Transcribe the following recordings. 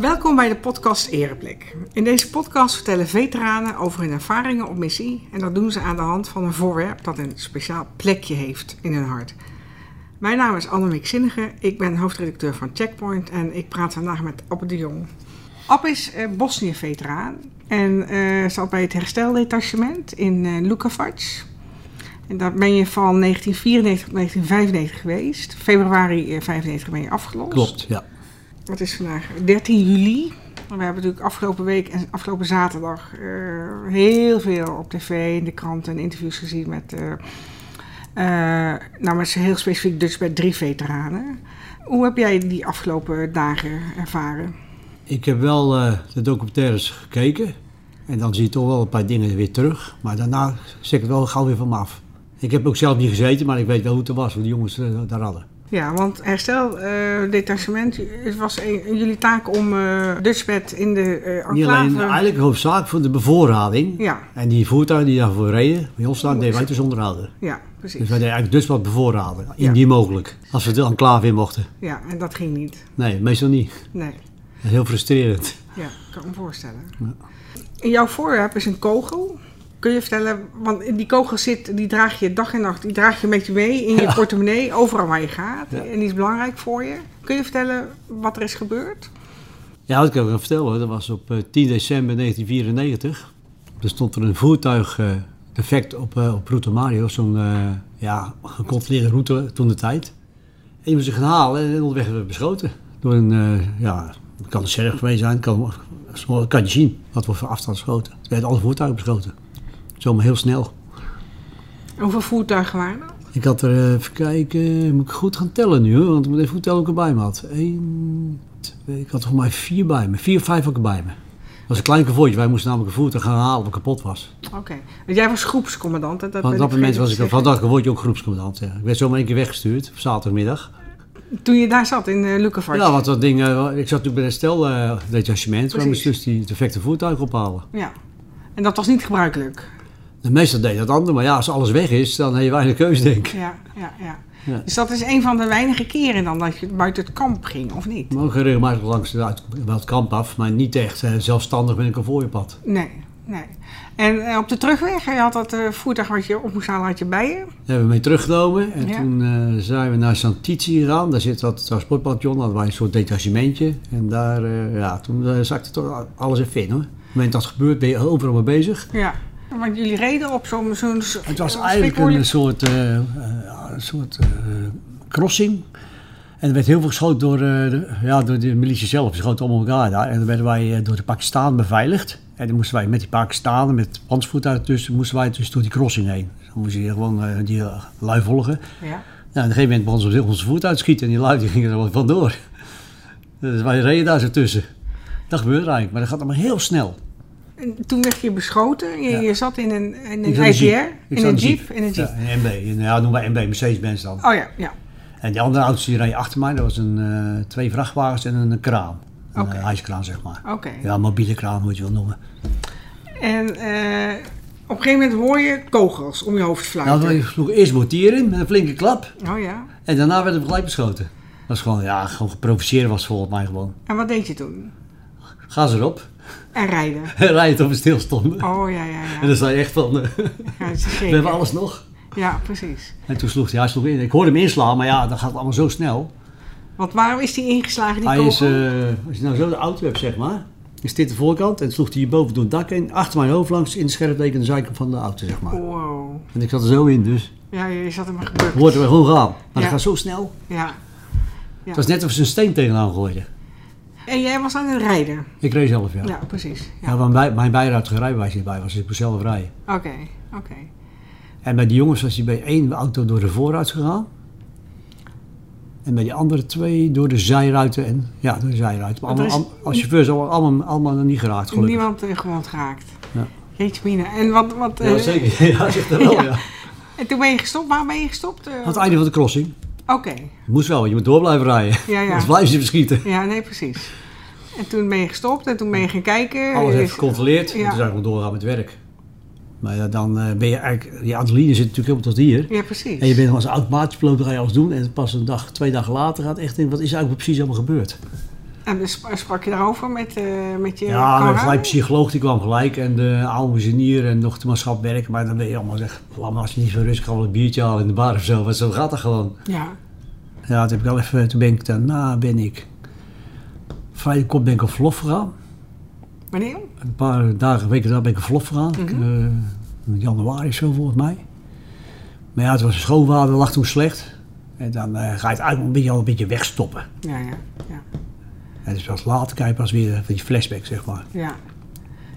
Welkom bij de podcast Ereplek. In deze podcast vertellen veteranen over hun ervaringen op missie en dat doen ze aan de hand van een voorwerp dat een speciaal plekje heeft in hun hart. Mijn naam is Annemiek Zinnige, ik ben hoofdredacteur van Checkpoint en ik praat vandaag met Appe de Jong. App is eh, Bosnië-veteraan en eh, zat bij het hersteldetachement in eh Lukavac. En daar ben je van 1994 tot 1995 geweest. Februari 1995 ben je afgelost. Klopt, ja. Wat is vandaag? 13 juli. We hebben natuurlijk afgelopen week en afgelopen zaterdag eh, heel veel op tv, in de kranten en interviews gezien met, eh eh, nou, met heel specifiek Dutch bij drie veteranen. Hoe heb jij die afgelopen dagen ervaren? Ik heb wel eh, de documentaires gekeken. En dan zie je toch wel een paar dingen weer terug. Maar daarna zet ik het wel gauw weer van me af. Ik heb ook zelf niet gezeten, maar ik weet wel hoe het er was, hoe de jongens eh, daar hadden. Ja, want herstel, eh, detachement, het was een- jullie taak om eh Dutchbed in de eh Niet alleen, enclave... eigenlijk hoofdzakelijk voor de bevoorrading. Ja, En die voertuigen die daarvoor reden, bij ons staan, deden wij dus onderhouden. ja, Dus precies. wij deden eigenlijk dus wat bevoorraden, Ja. indien mogelijk. Als we de enclave in mochten. Ja, en dat ging niet. Nee, meestal niet. Nee. Dat is heel frustrerend. Ja, ik kan me voorstellen. In jouw voorwerp is een kogel. Kun je vertellen, want die kogel zit, die draag je dag en nacht, die draag je met je mee in je Ja. portemonnee, overal waar je gaat. Ja. En die is belangrijk voor je. Kun je vertellen wat er is gebeurd? Ja, dat kan ik wel vertellen hoor. Dat was op eh, 10 december 1994. Er stond er een voertuig eh, defect op, eh, op Route Mario. Zo'n eh, ja, gecontroleerde route toen de tijd. En die moest ik gaan halen en onderweg werden we beschoten. Door een, eh, ja, het kan een serf geweest zijn. Kan, zo kan je zien wat we voor afstand schoten. Er werden alle voertuigen beschoten. Zomaar heel snel. En hoeveel voertuigen waren er? Ik had er, eh, even kijken, moet ik goed gaan tellen nu hoor. Want ik moet even goed tellen hoe ik erbij me had. Eén, twee, ik had volgens mij vier bij me. Vier, vijf had ik bij me. Dat was een klein konvooitje. Wij moesten namelijk een voertuig gaan halen dat kapot was. Oké. Want jij was groepscommandant. hè? Dat Want ben op dat moment was vergeten ik al te van zeggen. dat konvooitje ook groepscommandant. ja. Ik werd zomaar één keer weggestuurd op zaterdagmiddag. Toen je daar zat in eh Lukkevaart. Ja, want dat ding, eh, ik zat natuurlijk bij het stel eh detachement. Waar Precies. moesten dus die defecte voertuigen ophalen. Ja. En dat was niet gebruikelijk. De meester deed dat ander. Maar ja, als alles weg is, dan heb je weinig keuze denk ik. Ja, ja, ja. Ja. Dus dat is een van de weinige keren dan dat je buiten het kamp ging, of niet? Maar ook regelmatig langs de, uit- wel het kamp af. Maar niet echt eh, zelfstandig met een konvooienpad. Nee, nee. En eh, op de terugweg, je had dat eh, voertuig wat je op moest halen, had je bij je. Daar hebben we mee teruggenomen. En Ja. toen eh, zijn we naar Santici gegaan. Daar zit dat transportpantillon. Daar hadden wij een soort detachementje. En daar, eh, ja, toen eh, zakte toch alles even in hoor. Op het moment dat het gebeurt ben je overal mee bezig. Ja. Want jullie reden op zo'n... zo'n Het was eigenlijk een soort, eh, eh, ja, een soort eh, crossing. En er werd heel veel geschoten door, eh, de, ja, door de militie zelf. Ze schoten allemaal elkaar daar. En dan werden wij eh, door de Pakistanen beveiligd. En dan moesten wij met die Pakistanen, met pantsvoertuigen tussen, moesten wij dus door die crossing heen. Dan moesten je gewoon eh, die eh, lui volgen. Ja. Nou, op een gegeven moment begon ze op onze voet uit te schieten en die lui die gingen er wel vandoor. Dus wij reden daar zo tussen. Dat gebeurde eigenlijk, maar dat gaat allemaal heel snel. En toen werd je beschoten. Je, Ja. je zat in een, in een Ik zat in IVR, Ik in zat een jeep. In een jeep. Ja, een MB. En, Ja, noem maar MB, Mercedes-Benz dan. Oh ja, ja. En die andere auto's die reden achter mij, dat was een, eh, twee vrachtwagens en een kraan. Een Oké. eh, hijskraan, zeg maar. Oké. Ja, mobiele kraan, hoe je het wil noemen. En eh, op een gegeven moment hoor je kogels om je hoofd fluiten. Nou, we sloegen eerst mortier in, met een flinke klap. Oh ja. En daarna werden we gelijk beschoten. Dat was gewoon, ja, gewoon geprovoceerd was volgens mij gewoon. En wat deed je toen? Gas erop, En rijden. en rij het op een stilstonden. Oh ja, ja, ja. En dan sta je echt van, eh, ja we zeker. hebben alles nog. Ja, precies. En toen sloeg hij, hij sloeg in. Ik hoorde hem inslaan, maar ja, dat gaat allemaal zo snel. Want waarom is die ingeslagen, die hij kogel? is, eh, als je nou zo de auto hebt, zeg maar, is dit de voorkant. En sloeg hij hierboven door het dak in, achter mijn hoofd langs, in de scherpdeken de zijkant van de auto, zeg maar. Wow. En ik zat er zo in, dus Ja, je zat hem gebeurd. het hoorde we gewoon gaan. Maar Ja. dat gaat zo snel. Ja. Het was net of ze een steen tegenaan gooiden. En jij was aan het rijden. Ik reed zelf, ja. Ja, ja. precies. Ja. want mijn, mijn bijruitige rijbewijs niet bij was, dus ik moest zelf rijden. Oké, oké. En bij die jongens was hij bij één auto door de voorruit gegaan. En bij die andere twee door de zijruiten. En, ja, door de zijruiten. Maar Want er allemaal, al- als chauffeurs allemaal, allemaal, allemaal nog niet geraakt, gelukkig. Niemand eh, gewond geraakt. Ja. Jeetje mina. En wat... wat Ja, eh, zeker. Ja, zegt dat wel, Ja. ja. En toen ben je gestopt. Waar ben je gestopt? Eh, Aan het einde van de crossing. Oké. Moest wel, want je moet door blijven rijden. Ja, ja. Anders blijven ze verschieten. Ja, nee, precies. En toen ben je gestopt en toen ben je gaan kijken. Alles Je heeft is- gecontroleerd. Ja. En toen zou ik nog doorgaan met werk. Maar ja, dan eh, ben je eigenlijk... Die adrenaline zit natuurlijk helemaal tot hier. Ja, precies. En je bent als automatisch piloot, dan ga je alles doen. En pas een dag, twee dagen later gaat echt in, wat is er eigenlijk precies allemaal gebeurd? En dus sp- sprak je daarover met, eh, met je Ja, maar kameraden? gelijk psycholoog die kwam gelijk en de oude ingenieur en nog de maatschappelijk werker. Maar dan ben je allemaal zeg, laat maar als je niet zo rustig kan wel een biertje halen in de bar of zo. Want zo gaat dat gewoon. Ja, Ja, toen, heb ik al even, toen ben ik daarna ben ik vrij kort ben ik op verlof gegaan. wanneer? Een paar dagen, weken daar ben ik op verlof gegaan. Ik, eh, in januari of zo volgens mij. Maar ja, het was schoonwater, lag toen slecht. En dan eh, ga je het eigenlijk een beetje, al een beetje wegstoppen. Ja, ja, ja. En dus pas later krijg je pas weer een beetje flashback, zeg maar. ja.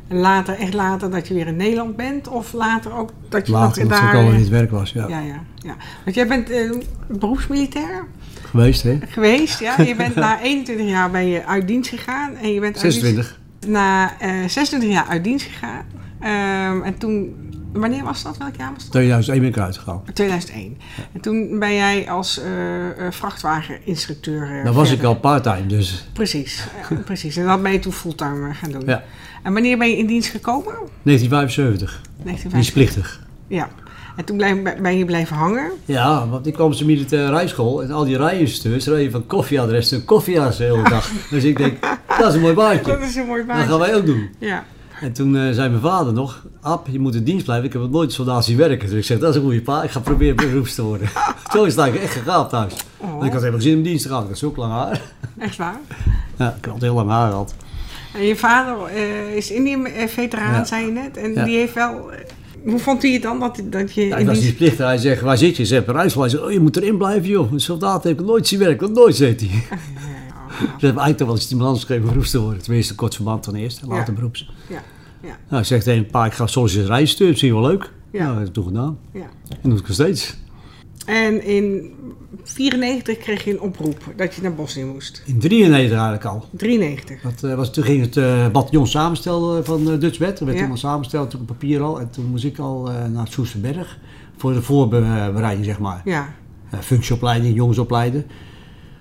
En later, echt later dat je weer in Nederland bent? Of later ook dat je Later, nog omdat daar... eh, ik al in het werk was, ja. ja, ja, ja. Want jij bent eh, beroepsmilitair Geweest, hè? geweest, ja. Je bent na 21 jaar ben je uit dienst gegaan. En je bent uit dienst- 26. na eh 26 jaar uit dienst gegaan. Ehm, en toen, wanneer was dat? Welk jaar was dat? 2001 ben ik eruit gegaan. 2001. En toen ben jij als eh, eh, vrachtwageninstructeur. eh, Dan was ik verder. al parttime, dus Precies, eh, precies. En dat ben je toen fulltime eh, gaan doen. Ja. En wanneer ben je in dienst gekomen? 1975. 1950. Dienstplichtig. Ja. En toen blijf- ben je blijven hangen. Ja, want ik kwam op de militaire rijschool en al die rijensteurs reden van koffieadres tot koffieadres de hele dag. dus ik denk, dat is een mooi Dat baantje. is een mooi Dat gaan baantje. wij ook doen. Ja. En toen eh, zei mijn vader nog, Ab, je moet in dienst blijven. Ik heb nog nooit soldaat zien werken. Dus ik zeg, dat is een goede pa. Ik ga proberen beroeps te worden. Zo is het eigenlijk echt gegaan thuis. Want ik Oh, had helemaal geen zin om dienst te gaan. Ik had zo lang haar. echt waar. Ja, ik had heel lang haar gehad. En je vader eh, is Indië-veteraan, Ja. zei je net. En Ja. die heeft wel... eh, hoe vond hij het dan dat, dat je Ja, ik in was dienst... dienstplichtig. Hij zegt, waar zit je? Zegt eruit. Hij zegt, oh, je moet erin blijven, joh. Een soldaat heb ik nooit zien werken. Nooit, zegt hij. Ja, Ze hebben eigenlijk toch wel een stimulans gegeven om beroeps te worden. Tenminste, een kort verband dan eerst, en later Ja. beroeps. ja, ja, Nou, ik zeg tegen een paar, ik ga soms eens rijden, misschien wel leuk. Ja. Nou, dat heb ik toen gedaan. ja. En dat doe ik nog steeds. En in 94 kreeg je een oproep dat je naar Bosnië moest. In 1993 eigenlijk al. 93. Dat, eh, was, toen ging het eh bataljon samenstellen van eh Dutch Wet. Dat werd Ja. toen al samengesteld, toen op papier al. En toen moest ik al eh, naar het Soesterberg voor de voorbereiding, zeg maar. Ja, Eh, functieopleiding, jongensopleiding.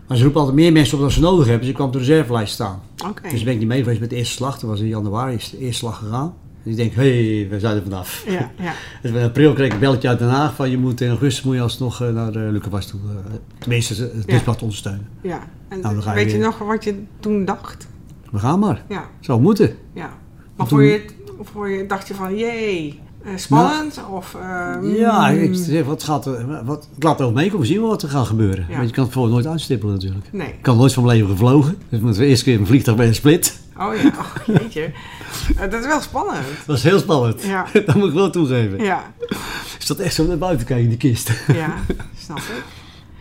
Maar ze roepen altijd meer mensen op dan ze nodig hebben. Dus ik kwam op de reservelijst staan. oké. Dus ben ik niet mee geweest met de eerste slag. Dat was in januari is de eerste slag gegaan. En ik denk, hé, hey, we zijn er vanaf. Ja, ja, En in april kreeg ik een belletje uit Den Haag van je moet in augustus moet je alsnog eh, naar uh, Lucas toe. eh, tenminste, het Ja. dichtblad ondersteunen. ja. En Nou, dan ga je weet je weer. nog wat je toen dacht? We gaan maar. Ja, Zou moeten. ja. Toen- Nou- Maar voor je, het- voor je dacht je van, jee, eh, spannend of... eh, Ja, mm, ik zeg, wat gaat er, wat, ik laat er ook mee komen, zien we wat er gaat gebeuren. Ja. Want je kan het voor nooit uitstippelen natuurlijk. Nee. Ik had nooit van mijn leven gevlogen. Dus met de eerste keer in een vliegtuig bij een split. Oh ja, oh, jeetje. Eh, dat is wel spannend. Dat was heel spannend. Ja. dat moet ik wel toegeven. Ja, Ik zat echt zo naar buiten te kijken in die kist. ja, snap ik.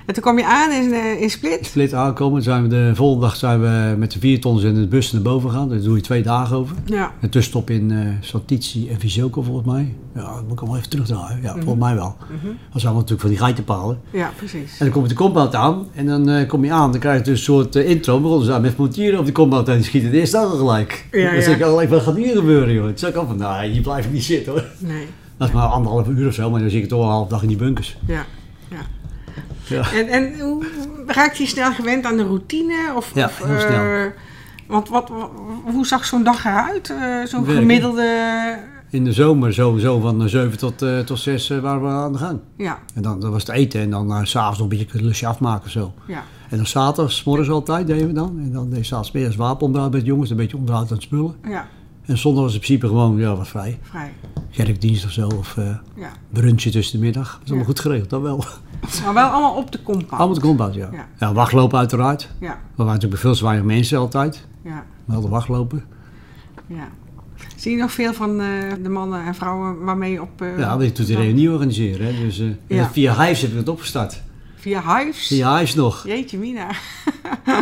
En toen kwam je aan in, eh, in Split. Split aankomen, zijn we de volgende dag zijn we met de vier tons en de bus naar boven gegaan. Daar doe je twee dagen over. Ja, Een tussenstop in eh Santici en Visoko volgens mij. Ja, dat moet ik allemaal even terugdraaien. Ja, Mhm. volgens mij wel. Dat zijn allemaal natuurlijk van die geitenpalen. ja, precies. En dan kom je de compound aan en dan eh, kom je aan. Dan krijg je dus een soort eh, intro. Begonnen ze aan met montieren op die compound en die schieten de eerste dag al gelijk. Ja, dan ja. zeg ik alleen, wat gaat hier gebeuren joh? Toen zei ik al van, nou hier blijf ik niet zitten hoor. Nee, Dat is maar anderhalf uur of zo, maar dan zit ik toch al een half dag in die bunkers. ja, ja. Ja. En, en hoe raakte je snel gewend aan de routine? Of, Ja, of, heel snel. eh, Want wat, wa- hoe zag zo'n dag eruit? Eh, zo'n Werken. gemiddelde... In de zomer sowieso van eh, 7 tot, eh, tot 6 eh, waren we aan de gang. Ja, En dan, dat was het eten en dan eh, s s'avonds nog een beetje een lusje afmaken of zo. ja, En dan zaterdags, morgens altijd deden we dan. En dan deed s'avonds weer eens wapenonderhoud met de jongens, een beetje onderhoud aan het spullen. ja, En zondag was in principe gewoon, ja, wat vrij. vrij. Kerkdienst of zo, of eh Ja. brunchje tussen de middag. Dat is allemaal Ja. goed geregeld, dat wel. Maar wel allemaal op de compound. Allemaal de grondbouw, ja. Ja. ja. wachtlopen uiteraard. We Ja, waren natuurlijk veel te weinig mensen altijd. ja, We hadden wachtlopen. ja. Zie je nog veel van eh, de mannen en vrouwen waarmee je op... eh, Ja, want ik toen de reunie organiseren. Hè. Dus, eh, en Ja. Via Hives heb ik dat opgestart. Via Hives? Via Hives nog. Jeetje mina.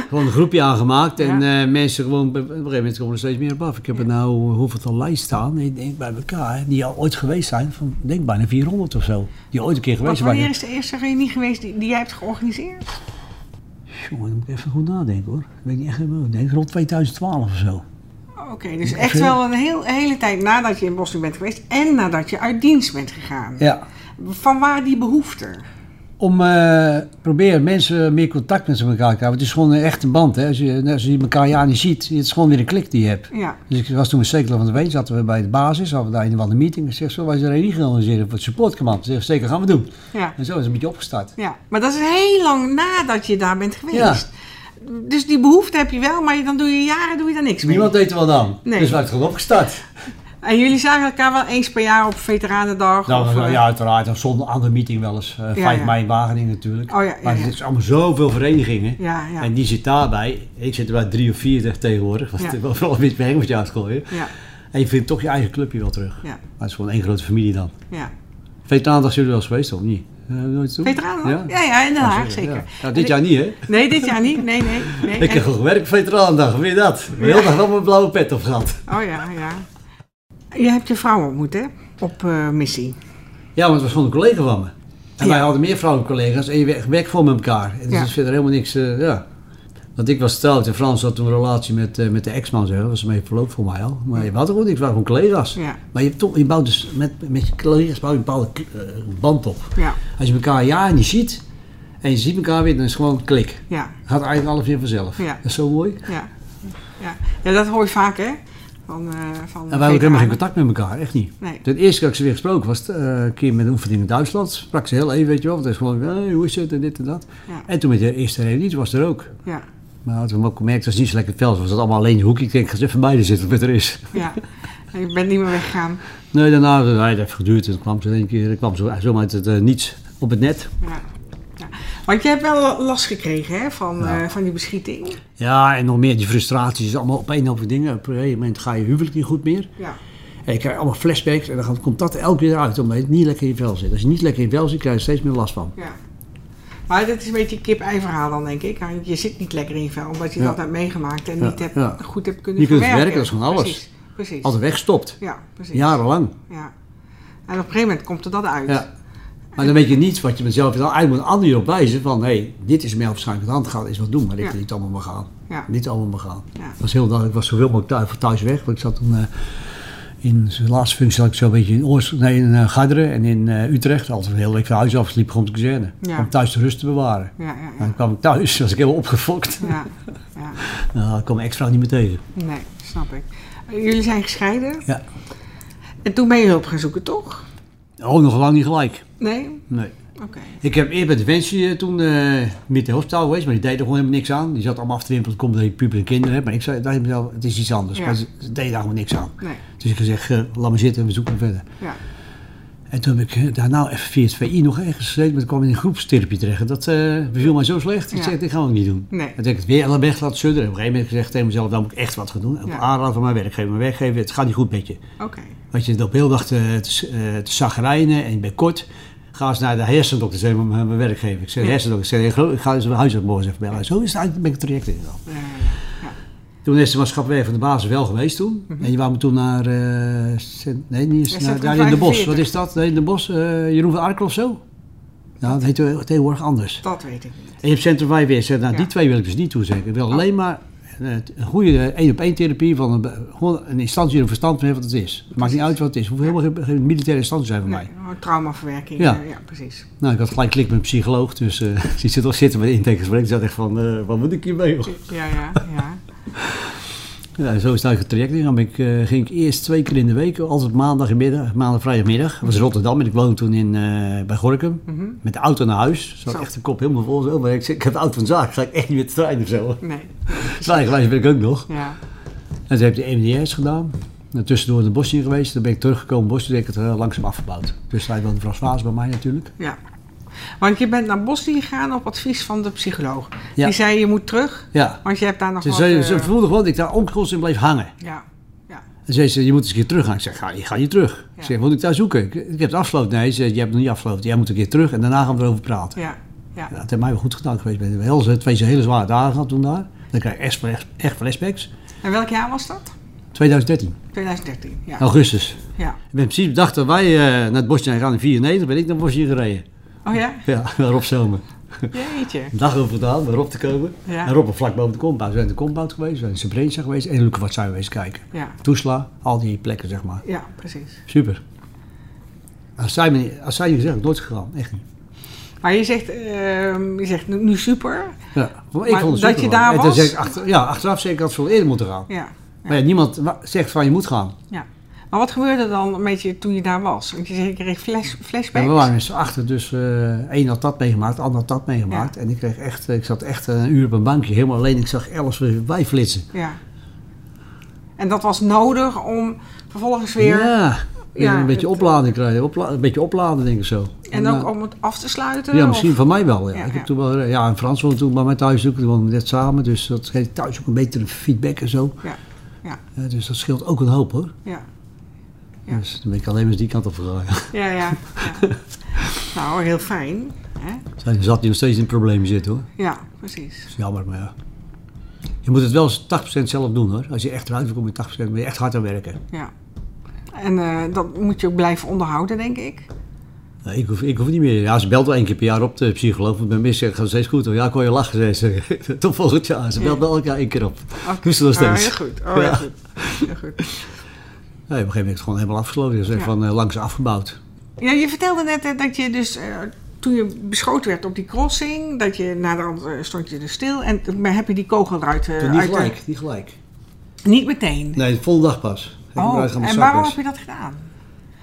Gewoon een groepje aangemaakt en Ja. eh, mensen gewoon, op een gegeven moment komen er steeds meer op af. Ik heb er nou eh, hoeveel tal lijst staan, ik denk bij elkaar, die al ooit geweest zijn, van ik denk bijna 400 of zo. Die ooit een keer Wat geweest wanneer waren. is de eerste reunie geweest die, die jij hebt georganiseerd? Jongen, dan moet ik even goed nadenken hoor. Ik weet niet echt helemaal, ik denk rond 2012 of zo. Oké, dus echt wel een heel, hele tijd nadat je in Bosnië bent geweest en nadat je uit dienst bent gegaan. Ja. Van waar die behoefte? Om eh proberen mensen meer contact met elkaar te krijgen. Want het is gewoon een echte band. Hè. Als, je, als je elkaar ja niet ziet, het is gewoon weer een klik die je hebt. Ja, Dus ik was toen met Stekeler van de Ween, zaten we bij de basis, hadden we daar een of andere meeting. Ik zeg, zullen wij eens een reunie gaan organiseren voor het supportcommand? Zeg, zeker gaan we doen. ja, En zo is het een beetje opgestart. ja. Maar dat is heel lang nadat je daar bent geweest. dus die behoefte heb je wel, maar dan doe je jaren doe je daar niks mee. Niemand deed er wat aan. Nee. Dus we hebben het gewoon opgestart. En jullie zagen elkaar wel eens per jaar op Veteranendag? of, Nou, eh, ja, uiteraard. Een zondag aan de meeting wel eens. eh 5 ja. mei in Wageningen natuurlijk. Oh ja, ja, maar ja. het is allemaal zoveel verenigingen. Ja, ja. En die zit daarbij. Ik zit er bij drie of vier te- tegenwoordig. Want Ja. ik wil vooral een beetje mijn Engels uitgooien. ja, En je vindt toch je eigen clubje wel terug. ja, Maar het is gewoon één grote familie dan. ja. Veteranendag zullen we wel eens geweest, of niet? Eh, nooit toe? Veteranendag? Ja, ja, in Den Ah, Haag ja. zeker. Nou, dit jaar niet, hè? Nee, dit jaar niet. Nee, nee. nee. Ik heb En- gewoon gewerkt op Veteranendag, weet je dat? Ik heb heel dag wel mijn blauwe pet op gehad. Oh ja, ja. Je hebt je vrouw ontmoet, hè? Op eh, missie. Ja, want het was gewoon een collega van me. En Ja. wij hadden meer vrouwelijke collega's en je werkt werkt gewoon met elkaar. En dus Ja. is verder helemaal niks, eh, ja. Want ik was getrouwd en Frans had toen een relatie met, eh, met de ex-man, zeg. Dat was mee verloopt voor mij al. Maar we hadden gewoon niks, we waren gewoon collega's. Ja. Maar je, hebt toch, je bouwt dus met, met je collega's bouw je een bepaalde eh, band op. Ja, Als je elkaar een jaar niet ziet en je ziet elkaar weer, dan is het gewoon klik. ja, Gaat eigenlijk alles weer vanzelf. Ja. Dat is zo mooi. ja. Ja, ja dat hoor je vaak, hè? Van, eh, van En Nou, wij hadden helemaal geen veteranen. contact met elkaar, echt niet. Nee. Het eerste keer dat ik ze weer gesproken was, eh, een keer met een oefening in Duitsland. Sprak ze heel even, weet je wel. Want het is gewoon, hey, hoe is het en dit en dat. Ja. En toen met de eerste reunie toen was er ook. Ja, Maar toen ook gemerkt, dat is niet zo lekker fel. was dat allemaal alleen in de hoekje. Ik denk, ga eens even bij de zitten wat er is. ja. Ik ben niet meer weggegaan. Nee, daarna nee, dat heeft even geduurd. En toen kwam ze in één keer, dat kwam zo, zomaar uit het eh, niets op het net. Ja. Ja. Want je hebt wel last gekregen, hè? Van, Ja. eh, van die beschieting. Ja, en nog meer die frustraties. Allemaal op een hoop dingen. Op een gegeven moment ga je huwelijk niet goed meer. Ja, En je krijgt allemaal flashbacks. En dan gaat- komt dat elke keer uit, omdat je niet lekker in je vel zit. Als je niet lekker in je vel zit, krijg je er steeds meer last van. ja. Maar dat is een beetje een kip-ei verhaal dan, denk ik. Want Je zit niet lekker in je vel, omdat je Ja. dat hebt meegemaakt en Ja, niet hebt, ja. goed hebt kunnen Niet kunt verwerken. verwerken, dat is gewoon alles. Precies, precies. Altijd wegstopt. Ja, precies. Jarenlang. Ja. En op een gegeven moment komt er dat uit. Ja. Maar dan weet je niet wat je mezelf dan eigenlijk moet een ander op wijzen van hé, hey, dit is mij waarschijnlijk aan de hand gaat, is wat doen, maar ik Ja. kan niet allemaal maar gaan. Ja. Niet allemaal maar gaan. Ja. Het was heel duidelijk, ik was zoveel mogelijk thuis, thuis weg, want ik zat toen eh, in zijn laatste functie zat ik zo'n beetje in Oors, nee, in eh, Garderen en in eh, Utrecht, altijd een hele week van huis af, sliep gewoon op de kazerne, Ja. om thuis de rust te bewaren. Ja, ja, En ja. dan kwam ik thuis, was ik helemaal opgefokt. ja, ja. Nou, ik kwam mijn ex-vrouw niet meer tegen. Nee, snap ik. Jullie zijn gescheiden. Ja. En toen ben je hulp gaan zoeken, toch? Oh, nog lang niet gelijk. Nee? Nee. Oké. Ik heb eerder bij Defensie eh, toen eh met de hospitaal geweest, maar die deed er gewoon helemaal niks aan. Die zat allemaal af te wimpelen, komt dat je puber en kinderen hebt. Maar ik zei, dacht ik mezelf, het is iets anders. Ja. Maar ze, ze deden daar gewoon niks aan. Nee. Dus ik heb gezegd, eh, laat me zitten en we zoeken verder. Ja. En toen heb ik eh, daarna even via het VI nog ergens gezeten, maar toen kwam ik in een groepstherapie terecht. En dat eh, beviel mij zo slecht. Ik Ja. zeg, dit gaan we ook niet doen. Nee. En toen heb ik het weer aan de weg laten sudderen. En op een gegeven moment heb ik gezegd tegen mezelf, dan moet ik echt wat gaan doen. En Op Ja. aanraden van mijn werkgever, mijn weggeven, het gaat niet goed met je. Oké. Want je op heel dag te, te, eh, te chagrijnen en je bent kort. Ga eens naar de hersendokter, zei mijn, mijn werkgever. Ik zei, Ja. hersendokter, ik, zei, "Gro- ik ga eens mijn huisarts morgen eens even bellen. Zo is het eigenlijk, ben ik het traject in Ja, ja, ja. Toen is de maatschappij van de basis wel geweest toen. En je wou me toen naar, eh, Cent- nee, niet eens, Mhm. Ja, naar, Centrum daar in de bos. 45. Wat is dat? Nee, in de bos, eh, Jeroen van Arkel of zo? Nou, dat heet heel- tegenwoordig anders. Dat weet ik niet. En je hebt Centrum 5 weer. Zeg, nou, Ja. Oh. die twee wil ik dus niet toezeggen. Ik wil alleen maar eh, een goede één-op-één therapie van een, be- gewoon een instantie die er verstand van heeft wat het is. Het maakt niet uit wat het is. Het hoeft helemaal geen, geen militaire instantie te zijn voor Nee, mij. gewoon traumaverwerking. Ja. eh, ja precies. Nou, ik had gelijk klik met een psycholoog. Dus eh, die zit al zitten met intakegesprek. Ik zat echt van, eh, wat moet ik hiermee? joh? Ja, ja, ja. Ja, zo is het eigenlijk het traject ingegaan. Ik eh, ging ik eerst twee keer in de week, altijd maandagmiddag, maandag, vrijdagmiddag. Dat was Rotterdam en ik woonde toen in, eh, bij Gorkum. Mhm. Met de auto naar huis. Zat Zo. echt de kop helemaal vol. Zo. Maar ik, zei, ik heb de auto van zaak, ga ik echt niet met de trein of zo. Nee. Zwaaigewijs ben ik ook nog. Ja. En toen heb ik de MDS gedaan. En tussendoor in Bosnië geweest. Toen ben ik teruggekomen in Bosnië. Toen heb ik het eh, langzaam afgebouwd. Dus hij woonde Frans Waas bij mij natuurlijk. Ja. Want je bent naar Bosnië gegaan op advies van de psycholoog. Ja. Die zei je moet terug, Ja. want je hebt daar nog Ze, wat... ze, eh, ze voelde gewoon dat ik daar ongekost in bleef hangen. ja. Ja. En zei ze, je moet eens een keer terug gaan. Ik zeg, ga, ik ga hier terug. Ja. Ik zeg, moet ik daar zoeken? Ik, ik heb het afgesloten. Nee, ze zei, je hebt het nog niet afgesloten. Jij moet een keer terug en daarna gaan we erover praten. Ja. Ja. Ja, dat heeft mij wel goed gedaan geweest. Ik ben wel zo- twee hele zware dagen gehad toen daar. Dan krijg ik echt, flash- echt flashbacks. En welk jaar was dat? 2013, 2013. Oh. Ja. augustus. ja. Ik ben precies bedacht dat wij eh, naar het Bosnië gaan in 94, ben ik naar Bosnië gereden. Oh ja? Ja, naar Rob Zomer. Jeetje. Een dag over gedaan, bij Rob te komen. Ja. En Rob op vlak boven de compound. We zijn in de compound geweest, we zijn in Srebrenica geweest en Luca wat zijn we geweest kijken. Ja. Toesla, al die plekken zeg maar. Ja, precies. Super. Als zij, me, niet- als zij niet gezegd had, nooit gegaan. Echt niet. Maar je zegt, ehm, je zegt nu, nu super. Ja, ik vond het Maar super dat je gewoon. daar En toen was? zeg ik achter- ja, achteraf zeg ik dat ze wel eerder moeten gaan. Ja. Maar ja, niemand wa- zegt van je moet gaan. ja. Maar wat gebeurde er dan met je toen je daar was? Want je zegt, ik kreeg flash, Ja, flashbacks. we waren met z'n achter, dus eh één had dat meegemaakt, ander had dat meegemaakt. En ik, kreeg echt, ik zat echt eh, een uur op een bankje, helemaal alleen. Ik zag alles weer bijflitsen. Ja. En dat was nodig om vervolgens weer... Ja, weer Ja, een beetje het- oplading krijgen. Opla- een beetje opladen, denk ik zo. En ook eh, om het af te sluiten? Ja, of- misschien van mij wel. Ja. Ja, ik ja. heb toen wel, eh, ja, en Frans woonde toen bij mij thuis ook. Die woonden net samen, dus dat geeft thuis ook een betere feedback en zo. Ja, ja. Eh, dus dat scheelt ook een hoop hoor. Ja. Ja. Dus dan ben ik alleen maar eens die kant op gegaan. Ja. Ja, ja. ja. nou, heel fijn. Hè? Zijn zat die nog steeds in problemen zitten hoor. Ja, precies. Dat is jammer, maar ja. Je moet het wel eens 80% zelf doen hoor. Als je echt eruit komt met 80% moet je echt hard aan werken. Ja. En eh, dat moet je ook blijven onderhouden, denk ik. Nee, ik, hoef, ik hoef niet meer. Ja, ze belt wel één keer per jaar op de psycholoog. Want mijn mis zegt, gaat steeds goed hoor. Ja, ik hoor je lachen. zei Ze. Tot volgend jaar. Ze belt wel elk jaar één keer op. Oké. Doe ze nog Oh, steeds. heel goed. Oh, heel Ja. goed. Heel goed. Nee, op een gegeven moment is het gewoon helemaal afgesloten. Ze zijn Ja. van eh, langs afgebouwd. Ja, je vertelde net eh, dat je dus eh, toen je beschoten werd op die crossing, dat je naderhand eh, stond je dus stil en toen heb je die kogel eruit. eh, niet uit de- gelijk, niet gelijk. niet meteen. Nee, de volgende dag pas. Ik heb eruit gaan oh, met en waarom heb zakmes. je dat gedaan?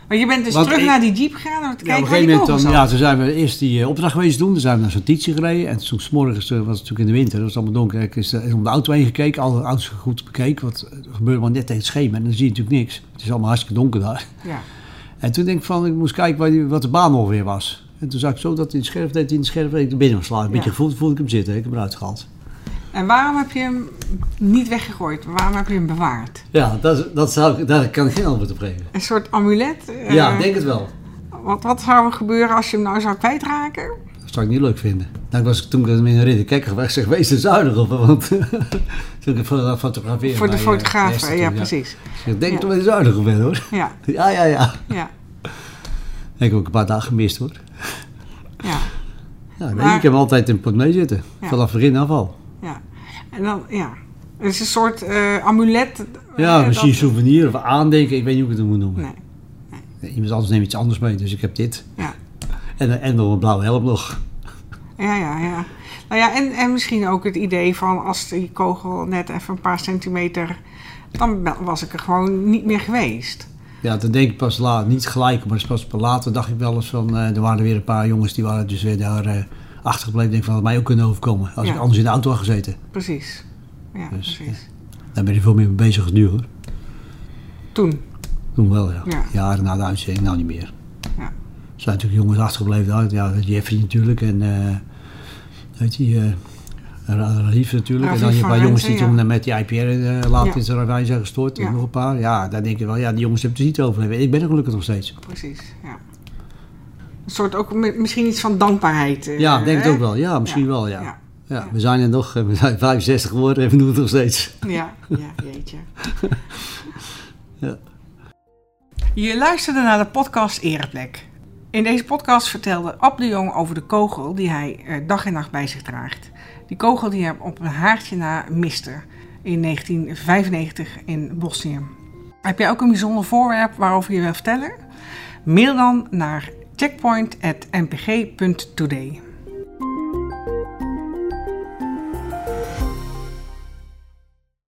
Maar je bent dus Want terug ik- naar die jeep gegaan om te Ja, op kijken een waar gegeven die moment kogel dan, zat. ja, toen zijn we eerst die eh, opdracht geweest doen. Toen zijn we naar zo'n tietje gereden. En toen 's morgens eh, was het natuurlijk in de winter. Dat was allemaal donker. Ik is, eh, is om de auto heen gekeken. Alle auto's goed bekeken. Want het gebeurde maar net tegen het schema. En dan zie je natuurlijk niks. Het is allemaal hartstikke donker daar. Ja. En toen denk ik van, ik moest kijken waar die- wat de baan alweer was. En toen zag ik zo dat in de scherf deed, in de scherf deed, ik er binnen was geslagen. Een beetje Ja. gevoeld, voelde ik hem zitten. Ik heb hem eruit gehaald. En waarom heb je hem niet weggegooid? Waarom heb je hem bewaard? Ja, dat, dat zou, ik- daar kan ik geen antwoord op geven. Een soort amulet? eh, ja, ik denk het wel. wat, wat zou er gebeuren als je hem nou zou kwijtraken? Dat zou ik niet leuk vinden. Dan was ik toen met een ridderkekker weg. Zeg, wees er zuinig op. hè, Want toen ik het fotograferen. Voor de bij, eh, fotograaf, Esther ja, toen, precies. Ik zeg, denk Ja. dat je zuinig op bent hoor. Ja, Ja, ja, ja. ja, Ik heb ook een paar dagen gemist hoor. ja, Ja, nee, Maar- Ik heb hem altijd in het portemonnee zitten. Ja. Vanaf begin af al. ja. En dan, ja. Het is een soort eh, amulet. Ja, eh, misschien dat- souvenir of aandenken. Ik weet niet hoe ik het moet noemen. Nee, Iemand anders neemt iets anders mee. Dus ik heb dit. ja. En, en nog een blauwe helm nog. Ja, ja, ja. Nou ja, en, en misschien ook het idee van als die kogel net even een paar centimeter... dan be- was ik er gewoon niet meer geweest. Ja, dan denk ik pas laat, niet gelijk, maar pas later dacht ik wel eens van, eh, er waren weer een paar jongens die waren dus weer daar eh achtergebleven. Ik denk van, dat had mij ook kunnen overkomen, als Ja. ik anders in de auto had gezeten. Precies. Ja, Dus, precies. Daar ben ik veel meer mee bezig als nu hoor. Toen. Toen wel, ja. Ja. Jaren na de uitzending, nou niet meer. Ja. Er zijn natuurlijk jongens achtergebleven daar. Ja, Jeffrey natuurlijk en, eh weet je, eh Ra- Raif natuurlijk. Rafief en dan je van een paar jongens die Rensen, toen ja. eh, met die IPR eh, laat Ja. in zijn ravijn zijn gestort. Ja. En nog een paar. Ja, daar denk je wel, ja, die jongens hebben het niet overleefd. Ik ben er gelukkig nog steeds. Precies, ja. Een soort ook mi- misschien iets van dankbaarheid. eh, Ja, ik denk het hè? ook wel. Ja, misschien Ja. wel, ja. Ja, ja. we zijn er nog, eh, we zijn 65 geworden en we doen het nog steeds. ja, ja jeetje. Ja. Je luisterde naar de podcast Ereplek. In deze podcast vertelde Ab de Jong over de kogel die hij eh, dag en nacht bij zich draagt. Die kogel die hem op een haartje na miste in 1995 in Bosnië. Heb jij ook een bijzonder voorwerp waarover je wil vertellen? Mail dan naar checkpoint.mpg.today.